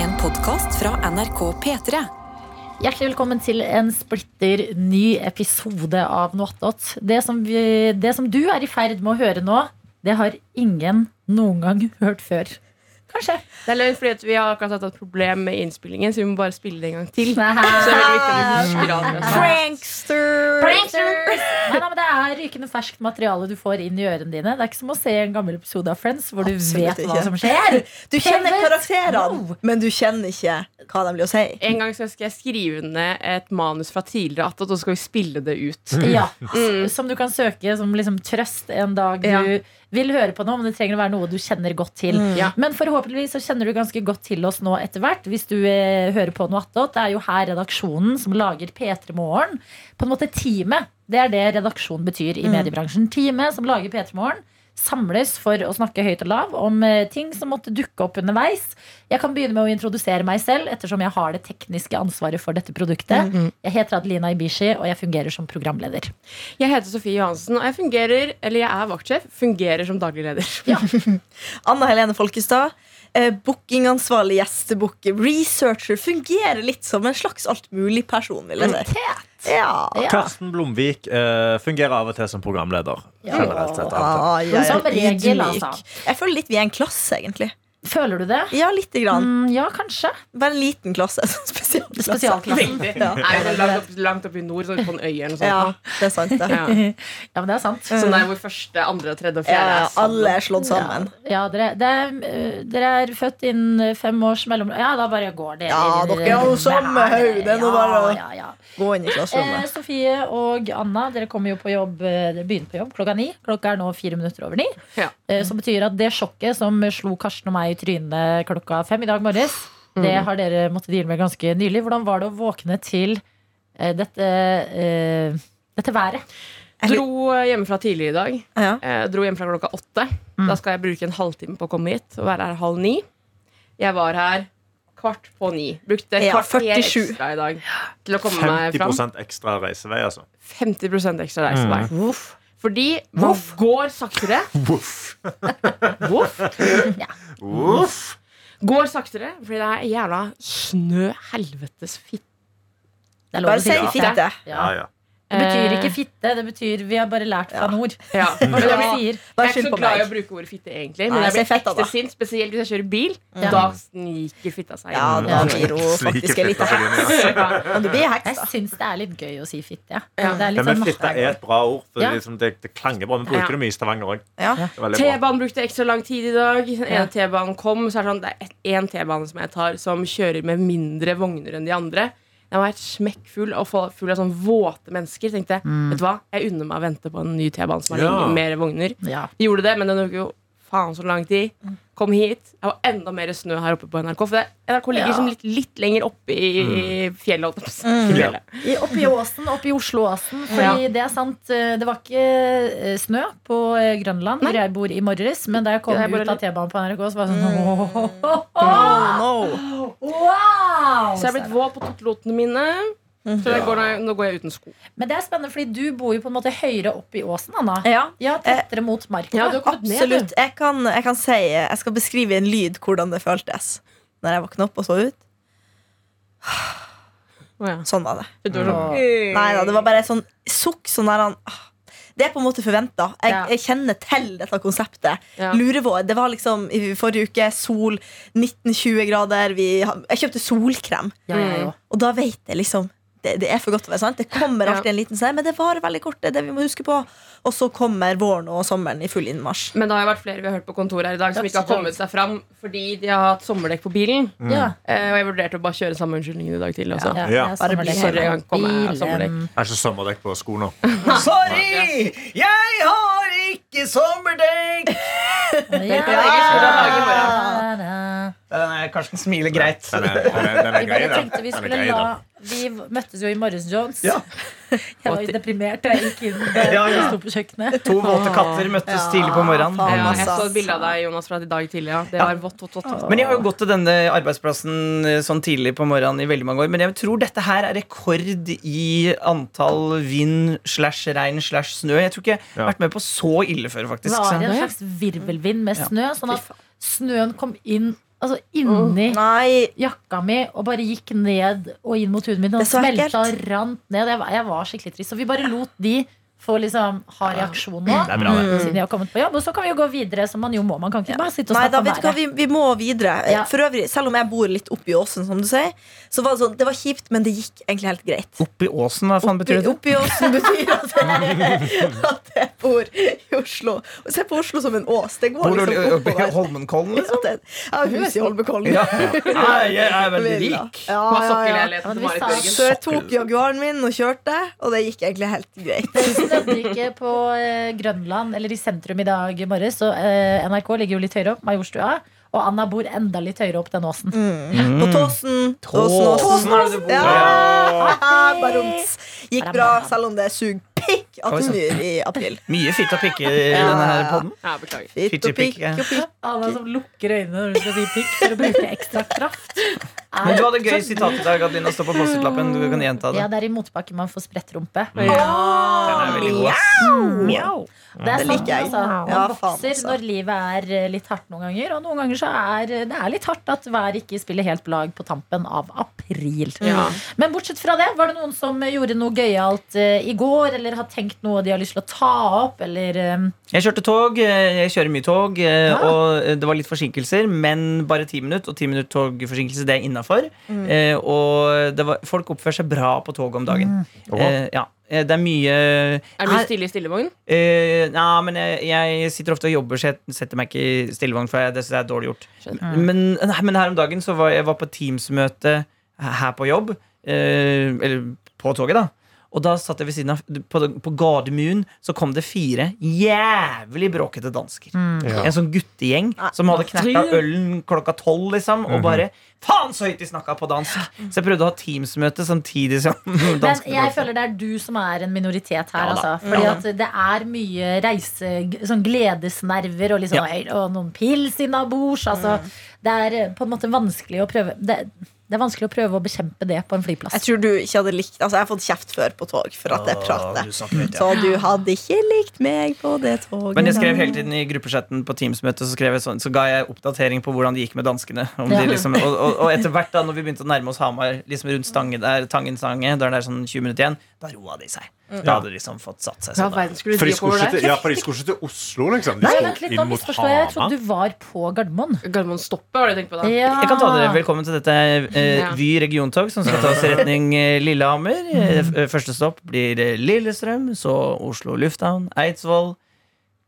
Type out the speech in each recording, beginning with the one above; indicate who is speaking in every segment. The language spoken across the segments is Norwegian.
Speaker 1: En podkast fra NRK P3.
Speaker 2: Hjertelig velkommen til en splitter ny episode av Noe attåt. Det, som vi- det som du er i ferd med å høre nå, det har ingen noen gang hørt før. Kanskje.
Speaker 3: Det er løgn, fordi at vi har akkurat hatt et problem med innspillingen, så vi må bare spille det en gang til. Så det er
Speaker 2: Nei.
Speaker 3: veldig viktig at vi forstyrrer andre.
Speaker 4: Prankster!
Speaker 2: Pranksters! Nei, nei, men det er rykende ferskt materiale du får inn i ørene dine. Det er ikke som å se en gammel episode av Friends hvor du
Speaker 4: Absolutt
Speaker 2: vet
Speaker 4: ikke.
Speaker 2: hva som skjer.
Speaker 4: Du kjenner
Speaker 2: Kjenner-
Speaker 4: karakterene,
Speaker 2: Wow.
Speaker 4: men du kjenner ikke hva de blir å si.
Speaker 3: En gang så skal jeg skrive ned et manus fra tidligere attåt, og så skal vi spille det ut.
Speaker 2: Ja, Som du kan søke som liksom trøst en dag du
Speaker 3: Ja.
Speaker 2: vil høre på noe, men det trenger å være noe du kjenner godt til.
Speaker 3: Ja.
Speaker 2: Men forhåpentligvis så kjenner du ganske godt til oss nå etter hvert. Hvis du eh, hører på noe attåt. Det er jo her redaksjonen som lager P3 Morgen. På en måte teamet. Det er det redaksjon betyr i mediebransjen. Teamet som lager P3 Morgen. Samles for å snakke høyt og lav om eh, ting som måtte dukke opp underveis. Jeg kan begynne med å introdusere meg selv, ettersom jeg har det tekniske ansvaret for dette produktet. Jeg heter Adelina Ibishi, og jeg fungerer som programleder.
Speaker 3: Jeg heter Sofie Johansen, og jeg fungerer, eller jeg er vaktsjef, fungerer som daglig leder.
Speaker 4: Anna Helene Folkestad, eh, bookingansvarlig, gjestebooker, researcher, fungerer litt som en slags altmulig-person, vil jeg si. Ja.
Speaker 2: Mm. Ja.
Speaker 5: Karsten Blomvik eh, fungerer av og til som programleder.
Speaker 2: Ja.
Speaker 5: Generelt sett. altså.
Speaker 4: Ah, ja, ja.
Speaker 2: Som regel,
Speaker 4: Ydmyk.
Speaker 2: altså.
Speaker 4: Jeg føler litt vi er en klasse, egentlig.
Speaker 2: Føler du det?
Speaker 4: Ja, lite grann.
Speaker 2: Mm, ja, kanskje.
Speaker 4: Bare en liten klasse. sånn Spesialklasse.
Speaker 2: Spesialklassen.
Speaker 4: Ja.
Speaker 3: Nei, men langt, opp, langt opp i nord, sånn på en øy eller noe
Speaker 4: ja,
Speaker 3: sånt.
Speaker 4: det er sant, det.
Speaker 3: Ja.
Speaker 2: Ja, men det er sant.
Speaker 3: Sånn der hvor første, andre, tredje og
Speaker 4: Ja,
Speaker 3: fjerde
Speaker 4: ja,
Speaker 3: er sammen.
Speaker 4: alle er slått sammen.
Speaker 2: Ja, dere, det er, øh, dere er født innen eh, fem års mellom... Ja, da bare går dere
Speaker 4: Ja,
Speaker 2: inn i-
Speaker 4: dere er jo samme haug, det er nå bare å-
Speaker 2: Ja, ja, ja.
Speaker 4: Gå inn i
Speaker 2: Eh,
Speaker 4: klasserommet.
Speaker 2: Sofie og Anna, dere kommer jo på jobb eh, Dere begynner på jobb klokka ni. Klokka er nå fire minutter over ni.
Speaker 3: Ja.
Speaker 2: Eh, Som betyr at det sjokket som slo Karsten og meg i trynet klokka fem i dag morges,
Speaker 4: Mm.
Speaker 2: det har dere måttet deale med ganske nylig. Hvordan var det å våkne til eh, dette, eh, dette været?
Speaker 3: Dro eh, hjemmefra tidligere i dag.
Speaker 4: Ja.
Speaker 3: Eh, dro hjemmefra klokka åtte. Da skal jeg bruke en halvtime på å komme hit og være her halv ni. Jeg var her kvart på ni. Brukte
Speaker 4: Ja,
Speaker 3: kvarter
Speaker 4: 47.
Speaker 3: ekstra i dag til å komme meg fram.
Speaker 5: 50 ekstra reisevei, altså.
Speaker 3: 50 ekstra reisevei.
Speaker 2: Voff.
Speaker 3: Fordi man går saktere.
Speaker 5: Voff.
Speaker 3: Voff.
Speaker 5: Voff.
Speaker 3: Går saktere fordi det er jævla snø helvetes fitte.
Speaker 2: Det er lov
Speaker 4: Bare
Speaker 2: å si
Speaker 4: si
Speaker 2: det.
Speaker 4: fitte.
Speaker 2: Ja.
Speaker 5: Ja, ja.
Speaker 2: Det betyr ikke fitte, det betyr vi har bare lært fra
Speaker 4: Ja.
Speaker 2: nord.
Speaker 3: Eh, Ja.
Speaker 2: Hva
Speaker 3: Men jeg
Speaker 2: er det
Speaker 3: blir-
Speaker 2: vi sier?
Speaker 3: jeg
Speaker 4: Bare
Speaker 3: er ikke
Speaker 4: skyld
Speaker 3: så
Speaker 4: på
Speaker 3: glad i
Speaker 4: meg.
Speaker 3: å bruke ordet fitte, egentlig. Men
Speaker 4: Nei,
Speaker 3: jeg blir
Speaker 4: si fett da, da.
Speaker 3: ekte sint, spesielt hvis jeg kjører bil.
Speaker 2: Ja.
Speaker 3: Da sniker fitta seg
Speaker 4: Ja,
Speaker 3: inn.
Speaker 4: da blir hun faktisk
Speaker 5: Slike
Speaker 4: en liten
Speaker 5: fitter på linja.
Speaker 4: heks. Men du blir heks,
Speaker 2: Jeg
Speaker 4: da.
Speaker 2: syns det er litt gøy å si fitte. Ja.
Speaker 3: Ja.
Speaker 2: Det er
Speaker 5: Ja,
Speaker 2: litt
Speaker 5: men
Speaker 2: sånn
Speaker 5: fitte er et bra ord. For
Speaker 2: Ja.
Speaker 5: liksom det, det klanger bra. Vi bruker
Speaker 3: Ja.
Speaker 5: det mye i Stavanger òg.
Speaker 4: Ja.
Speaker 3: T-banen brukte ekstra lang tid i dag. Den ene
Speaker 2: Ja.
Speaker 3: T-banen kom. Så er det sånn, det er én T-bane som jeg tar, som kjører med mindre vogner enn de andre. Den var helt smekkfull og full full av sånn våte mennesker. Tenkte jeg,
Speaker 2: Mm.
Speaker 3: vet du hva, jeg unner meg å vente på en ny T-bane som har
Speaker 5: Ja.
Speaker 3: ingen- mer vogner.
Speaker 2: Ja.
Speaker 3: Gjorde det, men den tok jo faen så lang tid.
Speaker 2: Mm.
Speaker 3: Kom hit. Det var enda mer snø her oppe på NRK. For det, NRK ligger
Speaker 2: Ja. Mm.
Speaker 3: liksom litt, litt lenger oppe i, i fjellet. holdt jeg på å si.
Speaker 5: Ja.
Speaker 3: Fjellet.
Speaker 2: I- Oppe i Åsen, oppe i Osloåsen. Fordi det er sant, eh, det var ikke eh, snø på eh, Grønland, hvor jeg bor i morges. Men da jeg kom
Speaker 3: Ja, jeg bor
Speaker 2: ut av
Speaker 3: litt-
Speaker 2: T-banen på NRK, så var det sånn
Speaker 4: Oh, no.
Speaker 2: Wow!
Speaker 3: Så jeg er blitt våt på tottelotene mine.
Speaker 2: Mm.
Speaker 3: Så jeg går, nå- nå går jeg uten sko.
Speaker 2: Men det er spennende, fordi du bor jo på en måte høyere opp i Åsen, Anna.
Speaker 4: Ja.
Speaker 2: Ja, tettere mot marka.
Speaker 3: Ja, du har kommet ned, du.
Speaker 4: Absolutt. Jeg kan, jeg kan si Jeg skal beskrive i en lyd hvordan det føltes når jeg våkna opp og så ut.
Speaker 3: Å ja.
Speaker 4: Sånn var det.
Speaker 3: Det var
Speaker 2: Mm.
Speaker 3: sånn,
Speaker 4: Nei da, det var bare et sånn sukk. Sånn der, han- ah. det er på en måte forventa. Jeg,
Speaker 2: Ja.
Speaker 4: jeg kjenner til dette konseptet.
Speaker 3: Ja.
Speaker 4: Lurevår. Det var liksom i forrige uke sol, 19-20 grader. Vi, jeg kjøpte solkrem.
Speaker 2: Ja, jeg òg.
Speaker 4: Og da vet jeg liksom det, det er for godt til å være sant. Det kommer
Speaker 3: Ja.
Speaker 4: alltid en liten seier, men det varer veldig kort. Det er det vi må huske på. Og så kommer våren og sommeren i full innmarsj.
Speaker 3: Men det har jo vært flere vi har hørt på kontoret her i dag som ikke har kommet seg fram fordi de har hatt sommerdekk på bilen.
Speaker 6: Mm.
Speaker 2: Ja.
Speaker 3: Eh, og jeg vurderte å bare kjøre samme unnskyldningen i dag tidlig
Speaker 2: Ja,
Speaker 3: også. Ja,
Speaker 2: jeg
Speaker 5: Mm. Ja.
Speaker 2: er
Speaker 4: Bare bli-
Speaker 2: sommerdekk.
Speaker 3: Sorry, jeg kom med
Speaker 2: Bilen.
Speaker 3: sommerdekk.
Speaker 5: Jeg har ikke sommerdekk på sko nå.
Speaker 6: Sorry! Jeg har ikke sommerdekk!
Speaker 2: Ja.
Speaker 3: Ja.
Speaker 6: Den er- Karsten smiler greit.
Speaker 5: Den er, den er, den er
Speaker 2: Vi
Speaker 5: grei,
Speaker 2: bare
Speaker 5: den.
Speaker 2: tenkte vi
Speaker 5: Den er
Speaker 2: skulle
Speaker 5: grei,
Speaker 2: la
Speaker 5: den.
Speaker 2: Vi møttes jo i morges, Jones.
Speaker 6: Ja.
Speaker 2: Jeg var jo deprimert da jeg gikk inn
Speaker 6: Ja,
Speaker 2: og
Speaker 6: ja.
Speaker 2: sto på kjøkkenet.
Speaker 6: To våte katter møttes tidlig på morgenen.
Speaker 4: faen.
Speaker 3: Ja, jeg så et bilde av deg Jonas, fra i dag tidlig. Ja. Det var vått, vått, vått, vått.
Speaker 6: Men jeg har jo gått til denne arbeidsplassen eh, sånn tidlig på morgenen i veldig mange år. Men jeg tror dette her er rekord i antall vind slash regn slash snø. Jeg tror ikke jeg har
Speaker 5: Ja.
Speaker 6: vært med på så ille før,
Speaker 2: Det
Speaker 6: faktisk.
Speaker 2: var
Speaker 6: Så.
Speaker 2: en slags virvelvind med snø, sånn at snøen kom inn altså, inni
Speaker 4: Nei,
Speaker 2: jakka mi og bare gikk ned og inn mot huden min. Og
Speaker 4: Det er så
Speaker 2: smelta og
Speaker 4: ekkelt.
Speaker 2: rant ned. Jeg var, jeg var skikkelig trist. Så vi bare lot de få liksom ha reaksjon nå.
Speaker 5: Mm. Det er bra, det.
Speaker 2: Siden de har kommet på jobb. Og så kan vi jo gå videre, som man jo må. Man kan ikke bare sitte og
Speaker 4: Nei,
Speaker 2: snakke
Speaker 4: da
Speaker 2: om
Speaker 4: vet du hva,
Speaker 2: været.
Speaker 4: vi, vi må videre.
Speaker 2: Ja.
Speaker 4: For øvrig, Selv om jeg bor litt oppi åsen, som du sier, så var det sånn, det var kjipt, men det gikk egentlig helt greit.
Speaker 6: Oppi åsen, hva faen betyr det?
Speaker 4: Oppi åsen betyr at jeg, at jeg bor i Oslo. Og Se på Oslo som en ås. Det går
Speaker 6: Bor du
Speaker 4: liksom
Speaker 6: oppi
Speaker 4: oppover.
Speaker 6: Holmenkollen,
Speaker 4: Ja,
Speaker 6: liksom?
Speaker 4: det- sånn Jeg har hus i Holmenkollen.
Speaker 6: Ja. Nei, jeg er veldig
Speaker 4: Villa.
Speaker 6: rik.
Speaker 4: Ja,
Speaker 2: Ja,
Speaker 3: På
Speaker 4: ja, ja.
Speaker 2: men
Speaker 3: sokkelleiligheten til
Speaker 2: vi
Speaker 3: Marit
Speaker 2: sa-
Speaker 3: Bjørgen.
Speaker 4: Så jeg tok Jaguaren min og kjørte, og det gikk egentlig helt greit.
Speaker 2: Snødde ikke på eh, Grønland eller i sentrum i dag morges. Og eh, NRK ligger jo litt høyere opp, Majorstua. Og Anna bor enda litt høyere opp den åsen.
Speaker 6: Mm.
Speaker 4: På Tåsen.
Speaker 6: Tåsen er det du bor
Speaker 4: Ja.
Speaker 6: på,
Speaker 4: Baroms. Gikk bra, selv om det suger pikk at
Speaker 6: Oi,
Speaker 4: det
Speaker 6: sant.
Speaker 4: snør i april.
Speaker 6: Mye fitt og pikke i denne her podden.
Speaker 3: Ja, beklager.
Speaker 4: Fitt og pikk
Speaker 6: Fittepikk,
Speaker 4: og pikk.
Speaker 2: Anna som lukker øynene når hun skal si pikk for å bruke ekstra kraft. Er sånn-
Speaker 6: Men du hadde et gøy sitat i dag, Adelina. Stå på post-it-lappen. Du kan gjenta det.
Speaker 2: Ja, det er i motbakke man får sprettrumpe.
Speaker 6: Mm. Den er veldig god, ass.
Speaker 2: Mjau. Det er
Speaker 4: Det
Speaker 2: sant,
Speaker 4: liker jeg.
Speaker 2: altså. Man
Speaker 4: Ja, faen,
Speaker 2: vokser
Speaker 4: altså.
Speaker 2: når livet er eh, litt hardt noen ganger. Og noen ganger så er eh, det er litt hardt at været ikke spiller helt lag på tampen av april.
Speaker 3: Ja.
Speaker 2: Men bortsett fra det, var det noen som eh, gjorde noe gøyalt eh, i går? Eller har tenkt noe de har lyst til å ta opp? Eller eh,
Speaker 6: Jeg kjørte tog, eh, jeg kjører mye tog, eh, og eh, det var litt forsinkelser, men bare ti minutter, og ti minutter togforsinkelse, det er innafor. Eh, Og det var, folk oppfører seg bra på toget om dagen. Eh, Ja, Eh, det er mye
Speaker 3: Er du stille i stillevogn?
Speaker 6: Eh, Nei, men jeg, jeg sitter ofte og jobber, så jeg setter meg ikke i stillevogn, for jeg, det synes jeg er dårlig gjort.
Speaker 3: Skjønner.
Speaker 6: Men, nei, men her om dagen så var jeg var på Teams-møte her på jobb, eh, eller på toget, da. Og da satt jeg ved siden av På, på Gardermoen så kom det fire jævlig bråkete dansker.
Speaker 2: Mm.
Speaker 7: Ja.
Speaker 6: En sånn guttegjeng
Speaker 2: Ah,
Speaker 6: som hadde knekka
Speaker 3: Tryn.
Speaker 6: ølen klokka tolv, liksom. Og bare Faen så høyt de snakka på dansk! Så jeg prøvde å ha Teams-møte samtidig som
Speaker 2: Men
Speaker 6: danskene
Speaker 2: jeg
Speaker 6: bråkte.
Speaker 2: føler det er du som er en minoritet her.
Speaker 6: Ja da.
Speaker 2: altså. Fordi at det er mye reise, g- sånn gledesnerver og, liksom, «Ei, og noen pils innabords. Altså, Det er eh, på en måte vanskelig å prøve det, det er vanskelig å prøve å bekjempe det på en
Speaker 4: Jeg
Speaker 2: flyplass.
Speaker 4: tror du ikke hadde likt Altså, jeg har fått kjeft før på tog for at jeg prater.
Speaker 5: du snakker høyt, ja.
Speaker 4: Så du hadde ikke likt meg på det toget.
Speaker 6: Men jeg skrev
Speaker 4: da.
Speaker 6: hele tiden i gruppechatten på Teams-møtet så, skrev jeg sånn, så ga jeg oppdatering på hvordan det gikk med danskene. Om
Speaker 2: Ja.
Speaker 6: de liksom, og, og, og etter hvert, da når vi begynte å nærme oss Hamar, liksom rundt stange der, Tangen Stange, da er det sånn 20 minutter igjen, da roa de seg. Da hadde de liksom fått satt seg
Speaker 3: Hva i
Speaker 6: sånn. da.
Speaker 3: verden skulle
Speaker 7: For
Speaker 3: du
Speaker 7: de
Speaker 3: drive
Speaker 7: skulle
Speaker 3: over
Speaker 7: ikke
Speaker 3: der?
Speaker 7: til, ja, for de skulle ikke til Oslo, liksom. De
Speaker 2: Nei,
Speaker 7: skulle
Speaker 2: vent litt,
Speaker 5: inn
Speaker 2: nå
Speaker 5: mot
Speaker 2: misforstår jeg. Jeg
Speaker 5: Hamar.
Speaker 2: trodde du var på Gardermoen.
Speaker 3: Gardermoen-stoppet, var det du tenkte på da?
Speaker 2: Ja.
Speaker 6: Jeg kan ta dere velkommen til dette eh,
Speaker 3: Ja.
Speaker 6: Vy regiontog som skal ta oss i retning eh, Lillehammer. Eh, f- eh, Første stopp blir eh, Lillestrøm, så Oslo lufthavn, Eidsvoll,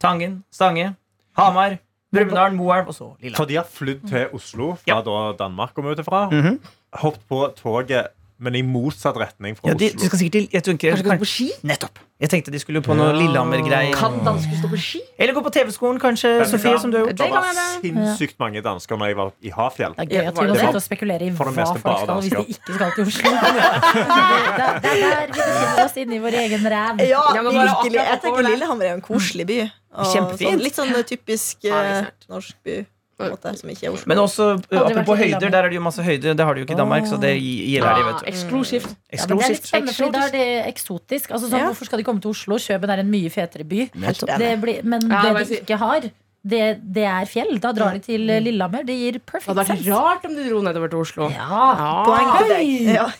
Speaker 6: Tangen, Stange, Hamar, Brumunddal, Moelv og så Lillehammer.
Speaker 5: For de har flydd til Oslo fra
Speaker 6: Ja.
Speaker 5: da Danmark kom ut ifra.
Speaker 6: Mhm.
Speaker 5: Hoppet på toget, men i motsatt retning fra
Speaker 6: Ja, de, de
Speaker 5: Oslo.
Speaker 6: skal sikkert til jeg tenker,
Speaker 3: Kanskje gå på ski?
Speaker 6: Nettopp. Jeg tenkte de skulle på noe Lillehammer-greier.
Speaker 3: Kan dansker stå på ski?
Speaker 6: Eller gå på TV-skolen, kanskje,
Speaker 5: Vet du
Speaker 6: Sofie,
Speaker 5: hva?
Speaker 6: som du har gjort.
Speaker 5: Det var
Speaker 3: Det kan
Speaker 5: sinnssykt mange dansker når jeg var i Hafjell.
Speaker 2: Det er gøy at vi
Speaker 3: Det
Speaker 2: må
Speaker 3: var-
Speaker 2: sitte og spekulere i hva
Speaker 5: for det meste
Speaker 2: folk
Speaker 5: bare
Speaker 2: skal hvis de
Speaker 5: dansker.
Speaker 2: ikke skal til Oslo. det er det er der vi befinner oss inni vår egen ræv.
Speaker 4: Ja,
Speaker 3: Ja, men bare akkurat
Speaker 4: virkelig. Jeg tenker
Speaker 3: oppover der.
Speaker 4: Lillehammer er jo en koselig by. Og
Speaker 6: Kjempefint.
Speaker 4: Sånn, litt sånn typisk
Speaker 3: Ja, det er
Speaker 4: eh,
Speaker 3: sant.
Speaker 4: norsk by, på en måte, som ikke er Oslo.
Speaker 6: Men også eh,
Speaker 2: Aldri vært
Speaker 6: apropos
Speaker 2: i
Speaker 6: høyder,
Speaker 2: Lillehammer.
Speaker 6: der er det jo masse høyder. Det har de jo ikke i Danmark, så det gi- gjelder de,
Speaker 3: Ah,
Speaker 6: vet du. Mm.
Speaker 3: Eksklusivt.
Speaker 2: Ja, men det er litt
Speaker 6: Eksklusivt.
Speaker 2: spennende, fordi da er det eksotisk. Altså, sånn,
Speaker 4: Ja.
Speaker 2: Hvorfor skal de komme til Oslo? Kjøben er en mye fetere by.
Speaker 4: Nettopp.
Speaker 2: Det blir, men
Speaker 3: Ja, hva
Speaker 2: det de
Speaker 3: jeg sier-
Speaker 2: ikke har, det, det er fjell. Da drar de til eh, Lillehammer. Det gir
Speaker 3: Det
Speaker 2: perfect
Speaker 3: hadde vært
Speaker 2: sense.
Speaker 3: rart om de dro nedover til Oslo.
Speaker 2: Ja.
Speaker 4: Poeng
Speaker 3: Ah.
Speaker 4: til deg. Ja.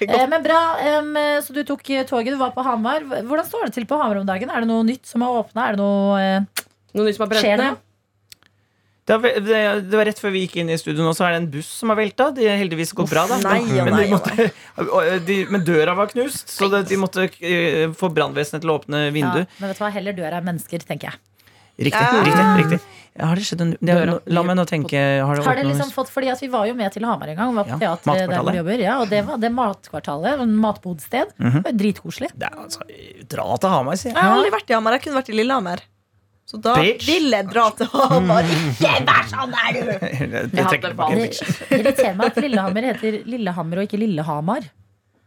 Speaker 2: Eh, men bra, em, eh, så du tok eh, toget, du var på Hamar. H- Hvordan står det til på Hamar om dagen? Er det noe nytt som har åpna? Er det noe eh,
Speaker 3: Noen som har brent
Speaker 2: Skjer det?
Speaker 3: ned?
Speaker 6: Det var, det, det var rett før vi gikk inn i studio nå, så er det en buss som har velta. Det har heldigvis gått bra, da.
Speaker 4: Nei, ja,
Speaker 6: men,
Speaker 4: nei,
Speaker 6: de
Speaker 4: ja,
Speaker 6: måtte, og eh, de, men døra var knust, så det, de måtte eh, få brannvesenet til å åpne
Speaker 2: ja,
Speaker 6: vinduet.
Speaker 2: Men vet du hva, heller dør av mennesker, tenker jeg.
Speaker 6: Riktig. riktig, riktig. Ja, Har det skjedd en det,
Speaker 3: Døra.
Speaker 6: La meg nå tenke. Har det
Speaker 2: Har det
Speaker 6: åpnet noe-
Speaker 2: liksom fått, fordi at Vi var jo med til Hamar en gang. Var på
Speaker 6: Ja,
Speaker 2: teatret der hvor
Speaker 6: matkvartalet.
Speaker 2: vi jobber. Ja, og det var det matkvartalet. Matbodsted. Det var Dritkoselig.
Speaker 6: Det er altså, Dra til Hamar, sier jeg.
Speaker 4: Jeg har aldri vært i Hamar. Jeg kunne vært i Lillehammer. Så da
Speaker 6: Bitch.
Speaker 4: vil jeg dra til Hamar. Ikke vær sånn, er du!
Speaker 6: Jeg
Speaker 3: Jeg hadde
Speaker 6: trekker tilbake.
Speaker 3: valgt.
Speaker 2: Det irriterer meg at Lillehammer heter Lillehammer og ikke Lillehamar.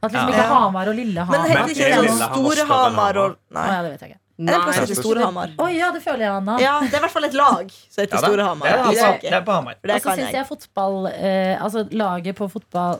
Speaker 2: At liksom ikke
Speaker 4: Ja.
Speaker 2: Hamar og
Speaker 4: Men
Speaker 2: Lillehammer.
Speaker 4: heter det ikke
Speaker 5: Men
Speaker 4: sånn
Speaker 5: er Lillehammer
Speaker 4: Store
Speaker 5: større enn
Speaker 4: Hamar og
Speaker 2: Å,
Speaker 4: Nei.
Speaker 2: ja, det vet jeg ikke.
Speaker 4: Er det en plass som
Speaker 3: Nei.
Speaker 4: heter Store Hamar?
Speaker 2: Å ja, det føler jeg, Anna.
Speaker 4: Ja, det er i hvert fall et lag som
Speaker 6: Ja
Speaker 4: heter
Speaker 6: da.
Speaker 4: Store Hamar.
Speaker 6: Det er,
Speaker 4: Det
Speaker 6: altså,
Speaker 4: er
Speaker 6: det er
Speaker 4: ikke-
Speaker 6: på Hamar.
Speaker 4: For
Speaker 2: Og
Speaker 4: det
Speaker 2: så
Speaker 4: kan
Speaker 2: syns
Speaker 4: jeg.
Speaker 2: jeg fotball eh, Altså laget på fotball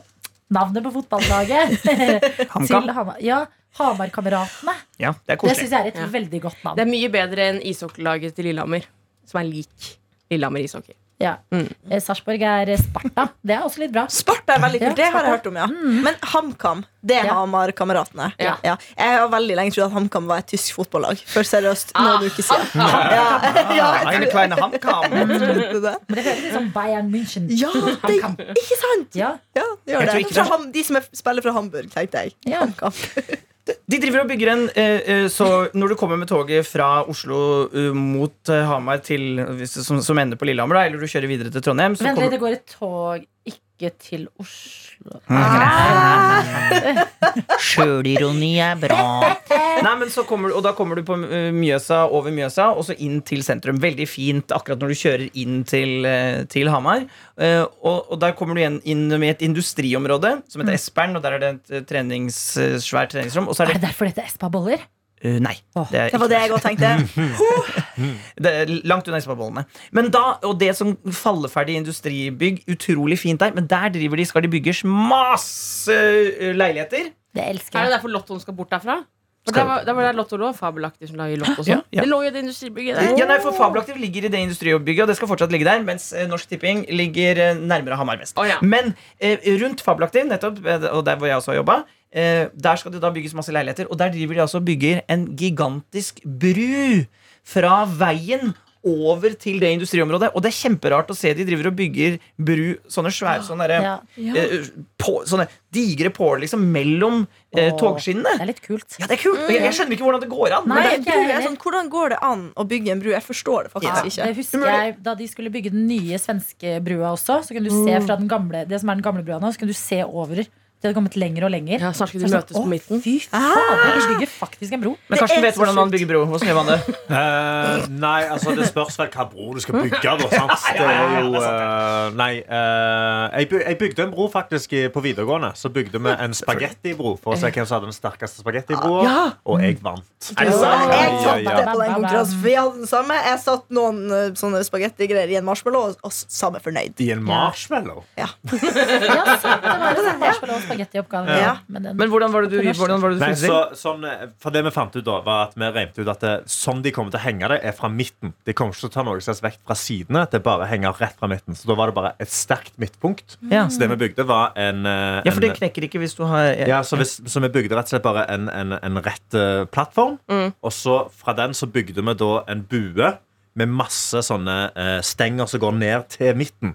Speaker 2: Navnet på fotballaget til Hamar. Ja, Hamarkameratene.
Speaker 6: Ja, det er
Speaker 2: Det
Speaker 6: koselig.
Speaker 2: syns jeg er et
Speaker 3: Ja.
Speaker 2: veldig godt
Speaker 3: Det
Speaker 2: navn.
Speaker 3: er mye bedre enn ishockeylaget til Lillehammer, som er lik Lillehammer ishockey.
Speaker 2: Ja.
Speaker 4: Mm.
Speaker 2: Eh, Sarpsborg er Sparta. Det er også litt bra.
Speaker 4: Sparta er veldig kult. Det har jeg hørt om, ja. Men HamKam, det er
Speaker 2: Ja.
Speaker 4: Hamar-kameratene.
Speaker 3: Ja.
Speaker 4: Ja. Jeg har veldig lenge trodd at HamKam var et tysk fotballag. Før seriøst, noen uker siden.
Speaker 6: Eine kleine HamKam.
Speaker 4: Ja.
Speaker 2: Men det høres litt sånn Bayern München
Speaker 4: Ja, det, ikke sant?
Speaker 2: Ja.
Speaker 4: Ja, det gjør
Speaker 6: Jeg
Speaker 4: det.
Speaker 6: tror ikke
Speaker 4: Fra
Speaker 6: det.
Speaker 4: ham, de som er, spiller fra Hamburg, tenkte jeg.
Speaker 2: Ja.
Speaker 4: HamKam.
Speaker 6: De driver og bygger en eh, eh, Så når du kommer med toget fra Oslo eh, mot eh, Hamar til hvis det- som, som ender på Lillehammer, da, eller du kjører videre til Trondheim så
Speaker 2: Vent litt,
Speaker 6: kommer,
Speaker 2: det går et tog ikke til Oslo
Speaker 6: Sjølironi er bra. Nei, men så kommer, du- og da kommer du på eh, Mjøsa, over Mjøsa, og så inn til sentrum. Veldig fint akkurat når du kjører inn til, eh, til Hamar. Eh, Og, og der kommer du igjen inn med et industriområde som heter Espern, og der er det et eh, trenings, eh, svært treningsrom. Og så
Speaker 2: Er
Speaker 6: er
Speaker 2: det
Speaker 6: det
Speaker 2: derfor det heter Espa-boller?
Speaker 6: Eh, Nei. Det er
Speaker 4: Det var det jeg òg tenkte.
Speaker 6: Det er langt unna Espa-bollene. Men da, og det som falleferdig industribygg, utrolig fint der, men der driver de, skal de bygge masse ø, leiligheter.
Speaker 2: Det
Speaker 3: Er
Speaker 2: elsker
Speaker 3: det
Speaker 2: jeg.
Speaker 3: derfor Lottoen skal bort derfra? For
Speaker 6: Skal-
Speaker 3: der var, der var det Lotto lå, fabelaktig som lager Lotto og
Speaker 6: Ja,
Speaker 3: sånn.
Speaker 6: ja.
Speaker 3: Det lå jo i det industribygget der.
Speaker 6: Ja, nei, for Fabelaktiv ligger i det industribygget, og det skal fortsatt ligge der, mens ø, Norsk Tipping ligger ø, nærmere Hamar vest.
Speaker 3: Å, ja.
Speaker 6: Men ø, rundt Fabelaktiv, nettopp, ø, og der hvor jeg også har jobba, der skal det da bygges masse leiligheter, og der driver de altså og bygger en gigantisk bru fra veien over til det industriområdet. Og det er kjemperart å se de driver og bygger bru, sånne svære sånne derre-
Speaker 2: Ja.
Speaker 6: eh, på, sånne digre påler liksom mellom eh,
Speaker 2: Åh. Det
Speaker 6: togskinnene.
Speaker 2: er litt kult.
Speaker 6: Ja, det er kult! og Jeg, jeg skjønner ikke hvordan det går an.
Speaker 2: Nei,
Speaker 6: men det,
Speaker 2: ikke
Speaker 4: Bru
Speaker 2: jeg
Speaker 4: er
Speaker 2: heller.
Speaker 4: sånn, hvordan går det an å bygge en bru? Jeg forstår det
Speaker 2: Ja,
Speaker 4: faktisk
Speaker 2: det
Speaker 4: ikke.
Speaker 2: husker jeg Da de skulle bygge den nye svenske brua også, så kunne du se
Speaker 4: Mm.
Speaker 2: fra den gamle, det som er den gamle brua nå, så kunne du se over. Det hadde kommet lenger og lenger.
Speaker 3: Ja, snart skal
Speaker 2: Så
Speaker 3: de
Speaker 2: jeg
Speaker 3: møtes
Speaker 2: sånn, «Å,
Speaker 3: på midten.
Speaker 2: Fy fader,
Speaker 4: Ah!
Speaker 2: de bygger faktisk en bro.
Speaker 6: men
Speaker 4: det
Speaker 6: Karsten
Speaker 4: er
Speaker 6: vet
Speaker 4: så
Speaker 6: hvordan man
Speaker 4: sjukt.
Speaker 6: bygger bro. Hvordan gjør man det?
Speaker 5: Eh, nei, altså det spørs vel hva bro du skal bygge. Da, sant? Det er jo eh, Nei. eh, jeg, byg, jeg bygde en bro faktisk i, på videregående. Så bygde vi en spagettibro for å se hvem som hadde den sterkeste spagettibroa. Og jeg vant.
Speaker 6: Er det sant?
Speaker 4: Jeg
Speaker 5: Ja,
Speaker 4: satt
Speaker 5: ja,
Speaker 4: det
Speaker 5: ja.
Speaker 4: på den konkurransen, for vi hadde den samme. Jeg satt noen eh, sånne spagettigreier i en marshmallow, og s- samme fornøyd.
Speaker 5: I en marshmallow.
Speaker 2: Ja, sant, det var jo sånn marshmallow og spagettioppgave.
Speaker 4: Ja.
Speaker 2: Men den-
Speaker 6: Men hvordan var det du, hvordan var det du
Speaker 5: Nei,
Speaker 6: fikk det
Speaker 5: så,
Speaker 6: til?
Speaker 5: sånn, eh, for det vi fant ut da, var at vi regnet ut at det, sånn de kommer til å henge det, er fra midten. De kommer ikke til å ta noe som helst vekt fra sidene. Det bare henger rett fra midten. Så da var det bare et sterkt midtpunkt.
Speaker 6: Ja.
Speaker 5: Så det vi bygde, var en, eh,
Speaker 6: Ja, for det
Speaker 5: en eh,
Speaker 6: knekker ikke hvis du har
Speaker 5: ja, så, hvis, så vi bygde rett og slett bare en, en, en rett eh, plattform. Og så fra den så bygde vi da en bue med masse sånne eh, stenger som går ned til midten.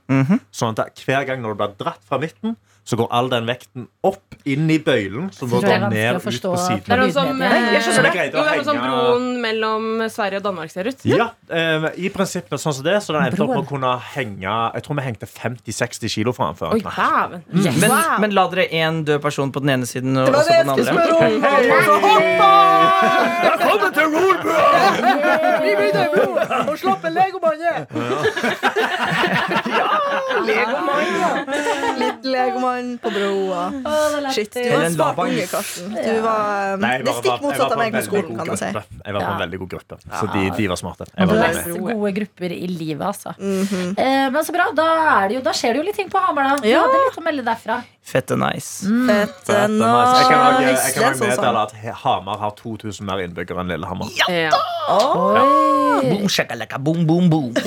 Speaker 5: Sånn at hver gang når du blir dratt fra midten, så går all den vekten opp inn i bøylen, som
Speaker 2: tror
Speaker 5: da
Speaker 2: det er
Speaker 5: går
Speaker 2: vanskelig å
Speaker 5: ned ut
Speaker 2: forstå
Speaker 5: på
Speaker 2: fra
Speaker 5: siden.
Speaker 3: Det er noe som,
Speaker 2: Lydmedia. Nei,
Speaker 5: jeg skjønner
Speaker 3: eh,
Speaker 5: det.
Speaker 3: jo, det er noe som
Speaker 5: Henge-
Speaker 3: broen mellom Sverige og Danmark ser ut.
Speaker 5: Ja, eh, i prinsippet sånn som det. Så den endte opp med å
Speaker 2: Broen.
Speaker 5: kunne henge Jeg tror vi hengte 50-60 kilo fra den før.
Speaker 3: Oi,
Speaker 5: den knakk.
Speaker 3: dæven.
Speaker 6: men, men la dere én død person på den ene siden og også på den andre?
Speaker 4: Og slapp en legomann ned! Litt legomann på broa. Shit, du var
Speaker 6: Eller
Speaker 4: en
Speaker 6: en
Speaker 4: smart
Speaker 6: labangs.
Speaker 4: unge, Karsten. Du var,
Speaker 5: Nei,
Speaker 4: det
Speaker 5: jeg var-
Speaker 4: er
Speaker 5: jeg
Speaker 4: stikk
Speaker 5: var
Speaker 4: motsatt av
Speaker 5: på en
Speaker 4: meg på
Speaker 5: veldig god
Speaker 4: skolen, kan du si.
Speaker 5: gruppe. Jeg var på en
Speaker 2: Ja.
Speaker 5: veldig god gruppe, så de, de var smarte.
Speaker 2: Man
Speaker 5: Jeg var
Speaker 2: bør
Speaker 5: veldig
Speaker 2: være så gode grupper i livet, altså. eh, men så bra. Da, er det jo, da skjer det jo litt ting på Hamar, da. Du
Speaker 4: Mhm. Ja.
Speaker 2: hadde litt å melde derfra.
Speaker 6: Fette nice.
Speaker 4: Mm. Fett,
Speaker 5: Fett, den er nice. Jeg kan også- jeg
Speaker 4: nice.
Speaker 5: kan
Speaker 4: Det er
Speaker 5: også
Speaker 4: sånn sang.
Speaker 5: meddele at He- Hamar har 2000 mer innbyggere enn Lillehammer.
Speaker 3: Ja.
Speaker 6: Boom, shakalaka, boom, boom, boom. Det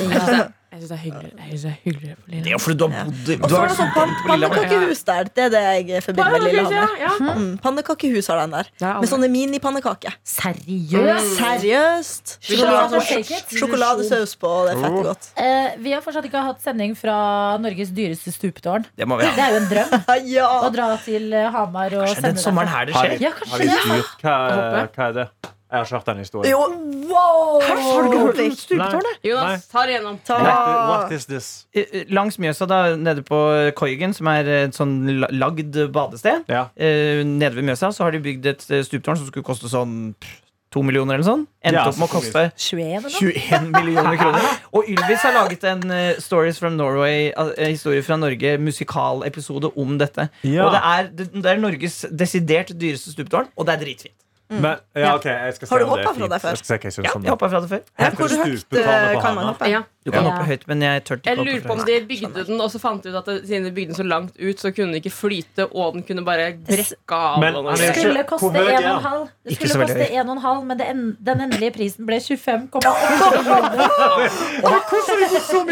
Speaker 3: Jeg syns det er hyggelig. Jeg synes det er hyggeligere på
Speaker 6: er
Speaker 3: Lillehammer.
Speaker 6: jo fordi du har bodd
Speaker 4: Og
Speaker 6: du
Speaker 4: så
Speaker 6: har
Speaker 4: var det
Speaker 6: vært
Speaker 4: sånn
Speaker 6: student
Speaker 4: pan
Speaker 6: på Lillehammer.
Speaker 4: pannekakehus der. Det er det jeg forbinder med Lillehammer.
Speaker 3: Ja, ja.
Speaker 4: Mm, pannekakehus har den der.
Speaker 3: Det er aldri-
Speaker 4: Med sånne minipannekaker.
Speaker 2: Seriøst?
Speaker 4: Seriøst!
Speaker 2: Vi skal ha sånn shake
Speaker 4: Mm. Sjokolade-
Speaker 2: it.
Speaker 4: Sjokoladesaus på, det er fett godt.
Speaker 2: Eh, vi har fortsatt ikke hatt sending fra Norges dyreste stupetårn.
Speaker 6: Det må vi
Speaker 2: Det
Speaker 6: ha.
Speaker 2: er jo en drøm
Speaker 4: Ja!
Speaker 2: å dra til eh, Hamar og
Speaker 6: Kanskje
Speaker 2: sende
Speaker 6: den sommeren her det skjer.
Speaker 2: Ja,
Speaker 5: Har
Speaker 2: kanskje
Speaker 5: de
Speaker 2: det.
Speaker 5: styrt hva,
Speaker 3: håper.
Speaker 5: hva er det? Jeg har ikke hørt den historien.
Speaker 4: Jo, wow! Har du ikke hørt det?
Speaker 5: Stupetårnet?
Speaker 3: Jonas, ta det igjennom.
Speaker 4: Ta
Speaker 5: What is this?
Speaker 6: Eh, eh, Langs Mjøsa, da, nede på Koigen, som er et sånn la- lagd badested
Speaker 5: Ja.
Speaker 6: eh, Nede ved Mjøsa så har de bygd et eh, stuptårn som skulle koste sånn pff, to millioner eller sånn. Endte
Speaker 5: Ja,
Speaker 6: opp med å koste
Speaker 2: 21 eller noe?
Speaker 6: 21 millioner kroner. Og Ylvis har laget en eh, Stories from Norway, al- eh, historie fra Norge, musikalepisode om dette.
Speaker 5: Ja.
Speaker 6: Og det er, det, det er Norges desidert dyreste stuptårn, og det er dritfint.
Speaker 5: Men, ja, ok, jeg skal
Speaker 4: Mm.
Speaker 5: se
Speaker 4: Har du
Speaker 5: om det er
Speaker 4: hoppet fra
Speaker 5: fint.
Speaker 4: deg før?
Speaker 5: Jeg skal se hva jeg synes
Speaker 6: Ja,
Speaker 5: om
Speaker 6: jeg
Speaker 5: det.
Speaker 6: hoppa fra det før.
Speaker 4: Ja, Hvor
Speaker 5: Heter det
Speaker 4: høyt
Speaker 5: stupetårnet
Speaker 4: eh,
Speaker 5: på
Speaker 4: kan man
Speaker 5: Hamar?
Speaker 4: hoppe?
Speaker 3: Ja.
Speaker 6: Du kan
Speaker 2: Ja.
Speaker 6: hoppe høyt, men jeg tør ikke
Speaker 3: Jeg
Speaker 6: hoppe
Speaker 3: lurer
Speaker 6: fra
Speaker 3: på om
Speaker 6: høyden.
Speaker 3: de bygde den, og så fant de ut at det- siden de bygde den så langt ut, så kunne den ikke flyte, og den kunne bare brekke av.
Speaker 5: Men-
Speaker 3: og sånn.
Speaker 5: men-
Speaker 3: noe.
Speaker 2: Det
Speaker 5: Hvor
Speaker 2: skulle
Speaker 5: høy
Speaker 2: koste
Speaker 5: er den?
Speaker 2: 1,5 Det
Speaker 6: Ikke
Speaker 2: skulle
Speaker 6: så veldig
Speaker 2: koste
Speaker 6: høy.
Speaker 2: 1,5 men det en, den endelige prisen ble 25,8
Speaker 6: Jo,